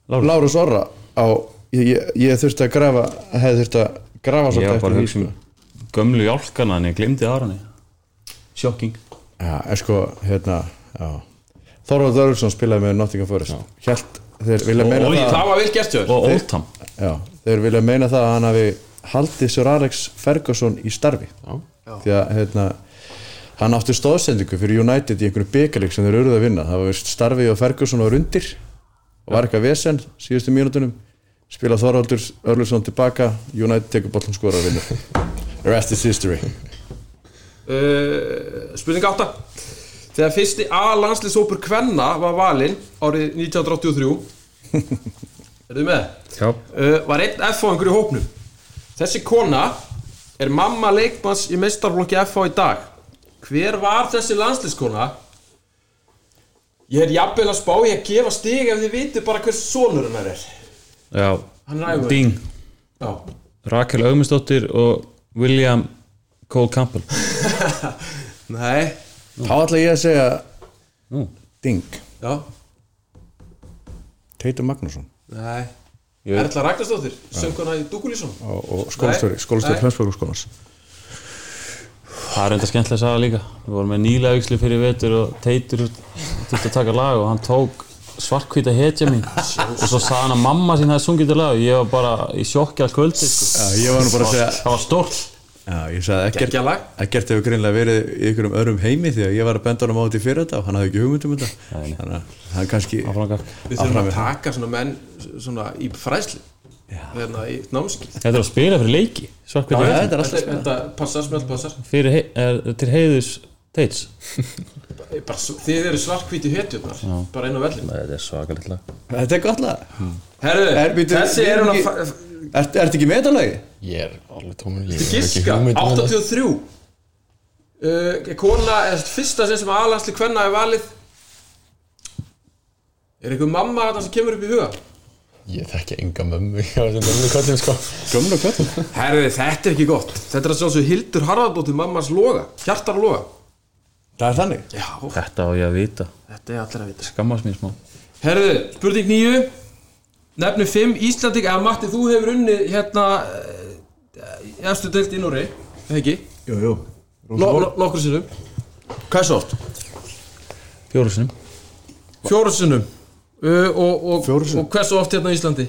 [SPEAKER 1] Lárus Orra á Ég, ég, ég þurfti að grafa hefði þurfti að grafa
[SPEAKER 2] Ég
[SPEAKER 1] svolítið
[SPEAKER 2] var bara að
[SPEAKER 1] því, sko.
[SPEAKER 2] hugsa um gömlu jálkana en ég glemdi aðrani Sjokking
[SPEAKER 1] Já, en sko, hérna já. Þorvald Örlsson spilaði með Nottingham Forest Hjælt, þeir vilja
[SPEAKER 2] Og-
[SPEAKER 1] meina
[SPEAKER 2] og
[SPEAKER 1] það
[SPEAKER 4] Það var vel gert hjá þér
[SPEAKER 2] Og Oldham
[SPEAKER 1] já, Þeir vilja meina það að hann hafi haldið Sir Alex Ferguson í starfi
[SPEAKER 3] Já.
[SPEAKER 1] því að hérna hann átti stóðsendingu fyrir United í einhverju byggaleg sem þeir eruð að vinna, það var veist starfið og Ferguson og rundir og var eitthvað vesen síðustu mínútunum spila Þorvaldur Örlusson tilbaka United tekur bollan skora og vinnur The rest is history
[SPEAKER 4] Uh, spurning 8 Þegar fyrsti A-landslisópur Kvenna var valinn árið 1983 Eruðu með?
[SPEAKER 3] Já.
[SPEAKER 4] Uh, var einn F-fáingur í hópnum Þessi kona er mamma leikmanns í meistarflokki F-fá í dag Hver var þessi landsliskona? Ég er jafnvel að spá ég að gefa stig ef þið vitið bara hver sonur hennar er
[SPEAKER 2] Já,
[SPEAKER 4] Hann er ægur.
[SPEAKER 2] Ding
[SPEAKER 4] Já,
[SPEAKER 2] Rakel Augmundsdóttir og William Cole Campbell
[SPEAKER 4] nei,
[SPEAKER 1] þá ætla ég að segja
[SPEAKER 2] Nú,
[SPEAKER 1] Ding,
[SPEAKER 4] já,
[SPEAKER 1] Teitur Magnússon
[SPEAKER 4] nei Erla Ragnarsdóttir, söngkona í Dúkulísson
[SPEAKER 1] og, og skólastjóri,
[SPEAKER 4] Nei.
[SPEAKER 1] skólastjóri
[SPEAKER 4] Nei.
[SPEAKER 1] Hlensborgarskólans
[SPEAKER 2] það er enda skemmtilega að saga líka Við vorum með nýlega aukslu fyrir vetur og Teitur þurfti að taka lag og hann tók svartkvíta hetja mín og svo sagði hann að mamma sín hafði sungið þetta lag og ég var bara í sjokki að kvöldi sko.
[SPEAKER 1] ég var nú bara að segja
[SPEAKER 2] Það var stórt
[SPEAKER 1] já, ég sagði ekkert
[SPEAKER 4] Gekkja lag
[SPEAKER 1] Ekkert hefur greinlega verið í einhverjum öðrum heimi því að ég var að benda honum á þetta í fyrir þetta og hann hafði ekki hugmyndum um þetta
[SPEAKER 2] Nei, nei.
[SPEAKER 1] þannig að hann kannski
[SPEAKER 2] Áframgak.
[SPEAKER 4] Við þurfum að
[SPEAKER 1] Áfram.
[SPEAKER 4] taka svona menn svona í fræsli hérna í námskið
[SPEAKER 2] Þetta er að spila fyrir leiki Svartkvíta
[SPEAKER 1] Já,
[SPEAKER 2] hetja
[SPEAKER 1] þetta er alltaf spennandi.
[SPEAKER 4] Þetta passar, smelt passar
[SPEAKER 2] fyrir, hei- er, til heiðus Teits
[SPEAKER 4] Ég bara, s- Þið eru svartkvíti hetjurnar bara inn á vellin
[SPEAKER 3] Þetta er svakalega
[SPEAKER 1] Þetta er gott lag
[SPEAKER 4] Herðu,
[SPEAKER 1] Er- býtu,
[SPEAKER 4] þessi
[SPEAKER 1] við
[SPEAKER 4] er
[SPEAKER 1] erum
[SPEAKER 4] hún að
[SPEAKER 1] ekki-
[SPEAKER 4] fa- f-
[SPEAKER 1] Ert, ert ekki með þetta lagi?
[SPEAKER 3] Ég er um alveg tómur líf
[SPEAKER 4] giska,
[SPEAKER 1] um
[SPEAKER 4] 83 uh, Kona, eða sem sagt, fyrsta sem sem aðlansli hvenna er valið Er einhver mamma þarna sem kemur upp í huga?
[SPEAKER 3] Ég þekki enga mömmu Já, sem mömmu kallin sko
[SPEAKER 1] Gömlu og kvöld
[SPEAKER 4] Herðu, þetta er ekki gott Þetta er að sjálfsög Hildur Harðardóttir mammas loga Hjartar loga
[SPEAKER 1] Það er þannig
[SPEAKER 4] Já,
[SPEAKER 2] Þetta á ég að vita
[SPEAKER 4] þetta er allir að vita
[SPEAKER 2] Skammast mér smá
[SPEAKER 4] Herðu, spurning nýju Nefnu fimm Íslandik eða Matti, þú hefur unnið hérna eh, efstu deilt í Nóri ekki?
[SPEAKER 1] Jú, jú
[SPEAKER 4] No, no, nokkur sinnum Hversu oft?
[SPEAKER 2] Fjóru sinum
[SPEAKER 4] Fjóru sinnum uh, og, og,
[SPEAKER 1] Fjórum sinnum.
[SPEAKER 4] og hversu oft hérna á Íslandi?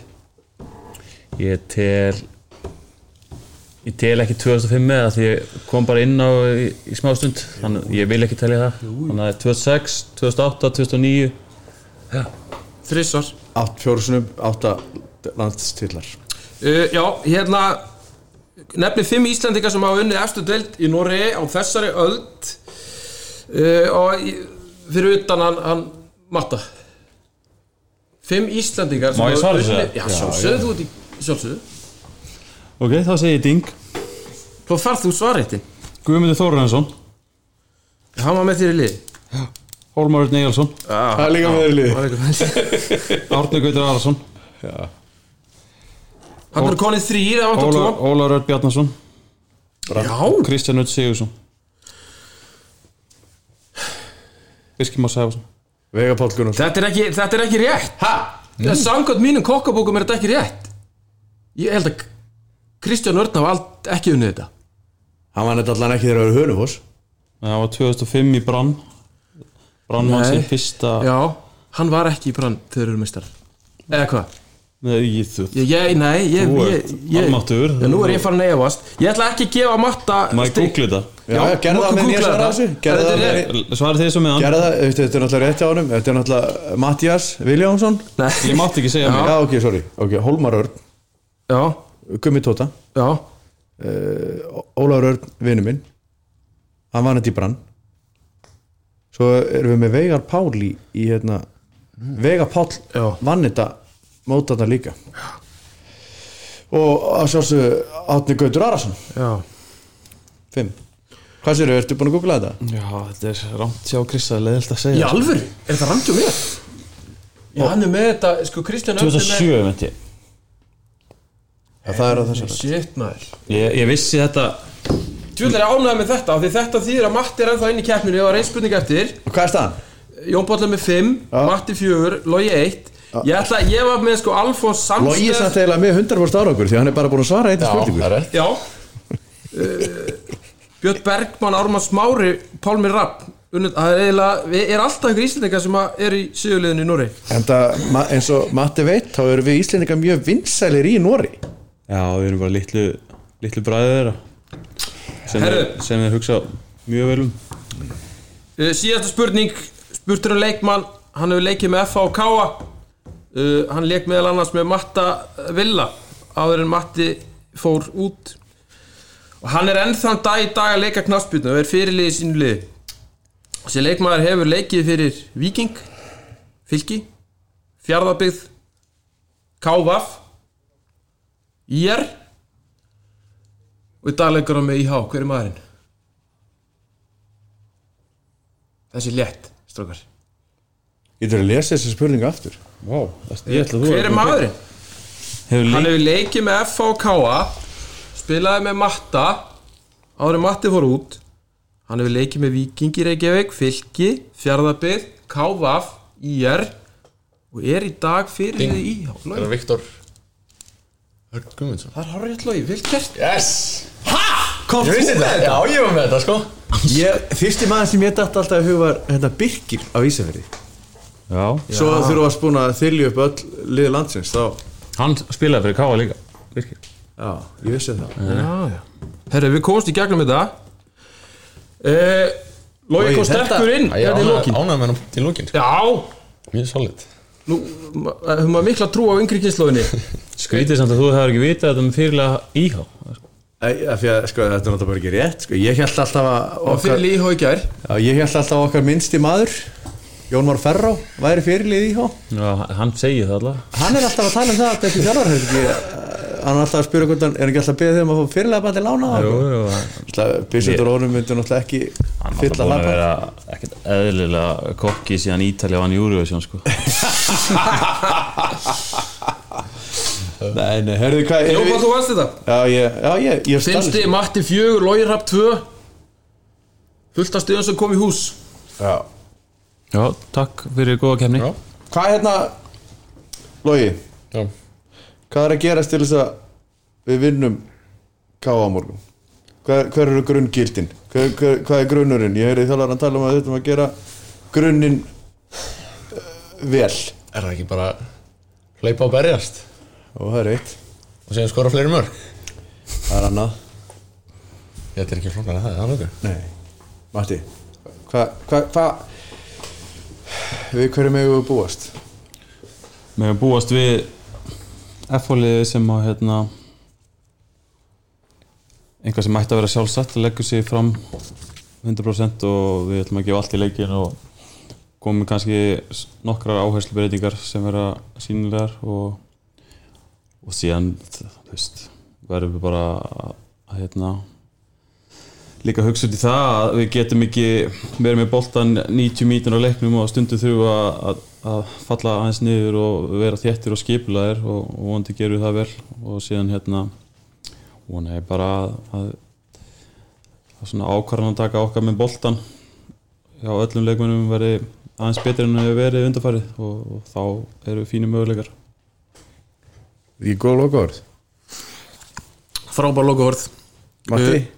[SPEAKER 2] Ég tel Ég tel ekki 2005 með það því ég kom bara inn á í, í smá stund Þannig að ég vil ekki telja það Þannig að 2006, 2008, 2009
[SPEAKER 4] Þrissar
[SPEAKER 1] Átt fjórusunum, átta landstillar
[SPEAKER 4] uh, Já, hérna Nefni fimm Íslandika sem hafa unnið efstu deild í Nóri á þessari öld uh, og í- fyrir utan hann, hann Matta Fimm Íslandingar sem
[SPEAKER 2] Má ég
[SPEAKER 4] hafa
[SPEAKER 2] svara
[SPEAKER 4] unnið-
[SPEAKER 2] þessu?
[SPEAKER 4] Já, sjálfsögðu þú ert í sjálfsögðu
[SPEAKER 2] Ok, þá segi ég Ding
[SPEAKER 4] Þá farð þú svarréttin
[SPEAKER 2] Guðmundur Þórarensson
[SPEAKER 4] Hann var með þér í lið
[SPEAKER 2] Hólmar Örn Egilson
[SPEAKER 1] Það er líka með þeirri liði
[SPEAKER 2] Árni Gautur Arason
[SPEAKER 4] Hann er konið þrýr eða vantar tvo
[SPEAKER 2] Ólar Örn Bjarnason
[SPEAKER 4] Já,
[SPEAKER 2] Kristján Öll Sigursson Birkir Már Sæfarsson
[SPEAKER 1] Vega Páll Gunnarsson
[SPEAKER 4] þetta er ekki, þetta er ekki rétt Hæ? Mm. Samkvæmt mínum kokkabókum er þetta ekki rétt Ég held að Kristján Örn hafa allt ekki unnið þetta
[SPEAKER 1] Hann var neitt allan ekki þegar að vera hönufoss
[SPEAKER 2] Nei, Það var 2005 í Brann Brann var
[SPEAKER 4] Nei.
[SPEAKER 2] sér fyrsta
[SPEAKER 4] Já, hann var ekki í brann þegar þeir eru mistar Eða hvað?
[SPEAKER 2] Nei, ég, þú,
[SPEAKER 4] Ég, ég, nei, ég,
[SPEAKER 2] Þú
[SPEAKER 4] ég,
[SPEAKER 2] ert
[SPEAKER 4] ég
[SPEAKER 2] almáttugur.
[SPEAKER 4] Já, nú er ég farin að efast Ég ætla ekki að gefa matta
[SPEAKER 2] maður googli þetta
[SPEAKER 1] Já, já, gerðu það með nýja svara þessu Gerðu það með
[SPEAKER 2] Svarið þið svo með hann
[SPEAKER 1] Gerðu það, þetta þetta er náttúrulega rétt hjá honum Þetta er náttúrulega Mattias Viljánsson
[SPEAKER 2] Ég mátti ekki segja
[SPEAKER 4] Já.
[SPEAKER 2] mig
[SPEAKER 1] Já, ok, sorry Ok, Hólmar Örn,
[SPEAKER 4] Já,
[SPEAKER 1] Gummi Tóta
[SPEAKER 4] já,
[SPEAKER 1] Ólaur Örn, vinnu minn Hann var nætti í brann Svo erum við með Vegar Pál í, í hérna Vegar Pál
[SPEAKER 4] Já.
[SPEAKER 1] vann þetta mót þarna líka og að sjálfsögðu Átni Gautur Arason
[SPEAKER 4] já
[SPEAKER 1] 5 Hvað sér, ertu búin að googla þetta?
[SPEAKER 2] Já, þetta er rámt hjá Krista leðilt að
[SPEAKER 4] Í
[SPEAKER 2] segja
[SPEAKER 4] alvöru? Er þetta rangt hjá mér? Já, hann er með þetta, sko, Kristján Örn er með-
[SPEAKER 2] 2007 veit ég.
[SPEAKER 1] Það er að þessar
[SPEAKER 4] Shit, maður
[SPEAKER 2] ég Ég vissi þetta
[SPEAKER 4] Djúlega ánægði með þetta af Því þetta þýðir að Matti er ennþá inn í keppninu og reynspurning eftir
[SPEAKER 1] Og hvað er staðan?
[SPEAKER 4] Jón Páll er með 5,
[SPEAKER 1] Já.
[SPEAKER 4] Matti 4, Logi 1 Ég ætla, ég var með sko Alfons
[SPEAKER 1] Logi er samt
[SPEAKER 4] Samstef
[SPEAKER 1] eiginlega með 100% árangur því að hann er bara búin að svara eitthvað
[SPEAKER 3] það
[SPEAKER 1] spurningu
[SPEAKER 3] er rétt
[SPEAKER 4] Já uh, Eh, Björn Bergmann, Ármann Smári, Pálmi Rapp Unnur- Það er eiginlega, við er alltaf ykkur íslendingar sem að eru í síðuleginu í Núri
[SPEAKER 1] En það, ma- eins og Matti veit þá eru við Íslendingar mjög vinsælir í Nóri
[SPEAKER 2] Já, við erum bara litlu, litlu bræðið þeirra sem, er,
[SPEAKER 4] Herðu.
[SPEAKER 2] sem er hugsa mjög vel um
[SPEAKER 4] Uh, síðasta spurning spurtur um leikmann hann hefur leikið með FH og Káa uh, hann leik meðal annars með Matta Villa áður en Matti fór út og hann er ennþann dag í dag að leika knassbyrnu og er fyrirlið í sínu liði þessi leikmaður hefur leikið fyrir Viking Fylki Fjarðabyggð Kávaf IR og í dag leikur hann með IH hver er maðurinn? þessi er létt, strókar
[SPEAKER 1] Ég þurfum að lesa þessa spurningu aftur
[SPEAKER 2] Vá, ég ætla að þú
[SPEAKER 4] Hver er maðurinn?
[SPEAKER 2] Hefur
[SPEAKER 4] Hann
[SPEAKER 2] lík
[SPEAKER 4] hefur leikið með FH og KA Spilaði með Matta Árið Matti fór út Hann hefur leikið með Víkingi Reykjavík Fylki, Fjarðabið, KVAF IR Og er í dag fyrir
[SPEAKER 3] Ding.
[SPEAKER 4] þið í Já,
[SPEAKER 3] Það
[SPEAKER 4] Logi.
[SPEAKER 3] er Viktor Hörg Guðmundsson
[SPEAKER 4] Það er horrið logi, vel gert
[SPEAKER 3] Yes
[SPEAKER 4] Kom
[SPEAKER 3] Ég vissi þetta Já, ég var með þetta sko
[SPEAKER 1] ég, Fyrsti maður sem ég dætt alltaf í hug var hérna Birkir á Ísafjörði
[SPEAKER 2] Já,
[SPEAKER 1] Svo þurfum við að spúna að þylja upp öll liði landsins þá,
[SPEAKER 2] hann spilaði fyrir Káa líka Virkir
[SPEAKER 1] já, ég vissi það
[SPEAKER 4] já, já. Herru, við komumst í gegnum þetta uh, Logi
[SPEAKER 1] Logi,
[SPEAKER 4] kom
[SPEAKER 1] þetta-
[SPEAKER 4] sterkur inn
[SPEAKER 3] Ég
[SPEAKER 4] Hérna í
[SPEAKER 3] ánægði
[SPEAKER 4] lokin
[SPEAKER 3] ánægði með hann til lókin
[SPEAKER 4] Já,
[SPEAKER 3] Mjög solid
[SPEAKER 4] nú, ma- höfum maður mikla trú á yngri kynnslóðinni
[SPEAKER 2] Skrítið samt að þú hefur ekki vitað þetta með fyrirlega íhá sko.
[SPEAKER 1] Æ, af því að, sko, þetta er náttúrulega bara ekki rétt sko. ég held alltaf að
[SPEAKER 4] Og fyrir
[SPEAKER 1] okkar,
[SPEAKER 4] líhá í gær
[SPEAKER 1] já, ég held alltaf að okkar minnsti maður Jón Már Ferrá væri fyrirlið í hó
[SPEAKER 2] Já, hann segir það alltaf
[SPEAKER 1] hann er alltaf að tala um það að þessi þjálfar er ekki, eh, hann er alltaf að spyrja hvernig er hann ekki alltaf að beða þeim að fá fyrirlega bandi lána
[SPEAKER 2] Jú, jú, hann-
[SPEAKER 1] Bissundur Ónum myndi náttúrulega ekki
[SPEAKER 2] hann er alltaf
[SPEAKER 1] fylla
[SPEAKER 2] búin að
[SPEAKER 1] lappa
[SPEAKER 2] vera ekkert eðlilega kokki síðan Ítali á hann í Eurovision sko.
[SPEAKER 1] Nei, nei, herðu hvað er
[SPEAKER 4] Jópa,
[SPEAKER 1] við
[SPEAKER 4] þú vannst þetta
[SPEAKER 1] Já, ég, já, ég, ég
[SPEAKER 4] Finnsti, Matti 4, Lói Rapp 2 Fullt af stöðum sem kom í hús
[SPEAKER 1] Já
[SPEAKER 2] Já, takk fyrir góða kemni
[SPEAKER 3] Já.
[SPEAKER 1] Hvað er hérna Logi,
[SPEAKER 3] Já
[SPEAKER 1] hvað er að gerast til þess að við vinnum káa á morgun hver, hver eru grunngildin hver, hver, hvað er grunnurinn, ég heyrði þjálfar að tala um að þetta að gera grunnin uh, vel
[SPEAKER 3] Er það ekki bara Hlaupa og berjast
[SPEAKER 1] og það er eitt,
[SPEAKER 3] Og séum skora fleiri mörg
[SPEAKER 1] það er annað
[SPEAKER 3] Þetta er ekki flóknar að það, það er nokkuð
[SPEAKER 1] Nei, Matti hvað, hvað, hvað við hverju megum við búast
[SPEAKER 2] Mér hefur búast við F-fóliði sem að hérna einhvað sem ætti að vera sjálfsagt leggur sig fram 100% og við ætlum að gefa allt í leikin og komum með kannski s- nokkrar áherslubreytingar sem vera sínilegar og, og síðan þú veist, verðum við bara að, að hérna líka hugsa út í það að við getum ekki verið með boltan 90 mítur á leiknum og stundu þurfu að, að, að falla aðeins niður og vera þéttir og skipulaðir og, og vonandi gerum við það vel og síðan hérna vona ég bara að, að, að svona ákvarðan að taka okkar með boltan hjá öllum leikmennum veri aðeins betur en við verið undarfærið og, og þá eru fínir möguleikar
[SPEAKER 1] Í góð lokaorð
[SPEAKER 4] Frábær lokaorð
[SPEAKER 1] Matti
[SPEAKER 4] Uh,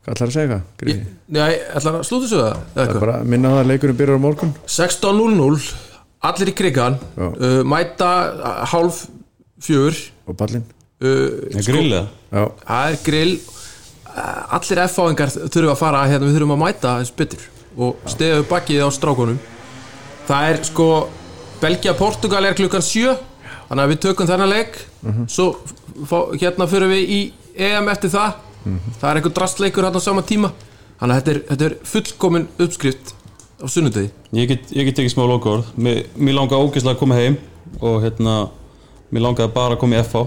[SPEAKER 1] Hvað ætlar að segja eitthvað?
[SPEAKER 4] Ég-
[SPEAKER 1] Grífi?
[SPEAKER 4] Nei, ætlar að slúta svo það? eða
[SPEAKER 1] Það er
[SPEAKER 4] eitthvað?
[SPEAKER 1] bara að minna það að leikurinn byrjar á morgun
[SPEAKER 4] 16.00 Allir í krigan
[SPEAKER 1] Já.
[SPEAKER 4] uh, Mæta uh, hálf fjör
[SPEAKER 1] og ballinn
[SPEAKER 4] uh,
[SPEAKER 2] Er grillið?
[SPEAKER 1] Já,
[SPEAKER 4] Það er grill Uh, Allir F-fáingar þurfum að fara hérna, Við þurfum að mæta eins betur Og stegaðu bakið á strákunum Það er sko Belgia-Portugal er klukkan 7 Þannig að við tökum þennan leik Svo fá, hérna fyrir við í EM eftir það Það er einhver drastleikur hérna á sama tíma Þannig að þetta er, þetta er fullkomin uppskrift Á sunnudegi
[SPEAKER 2] Ég get, ég get ekki smá lokaorð Mér, mér langaði ógeðslega að koma heim og hérna, mér langaði bara að koma í FH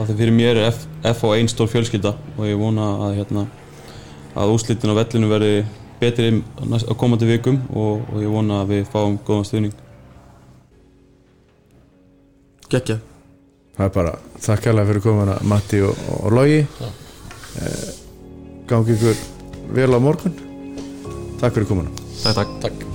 [SPEAKER 2] af því fyrir mér er F, FH einn stór fjölskylda og ég vona að hérna, að úslitin á vellinu verði betri næst, á komandi vikum og, og ég vona að við fáum góðan stuðning
[SPEAKER 4] Gekkja
[SPEAKER 1] það er bara þakkarlega fyrir komuna Matti og, og Logi Eh, gangi ykkur vel á morgun Takk fyrir komuna
[SPEAKER 2] Takk, takk
[SPEAKER 3] Takk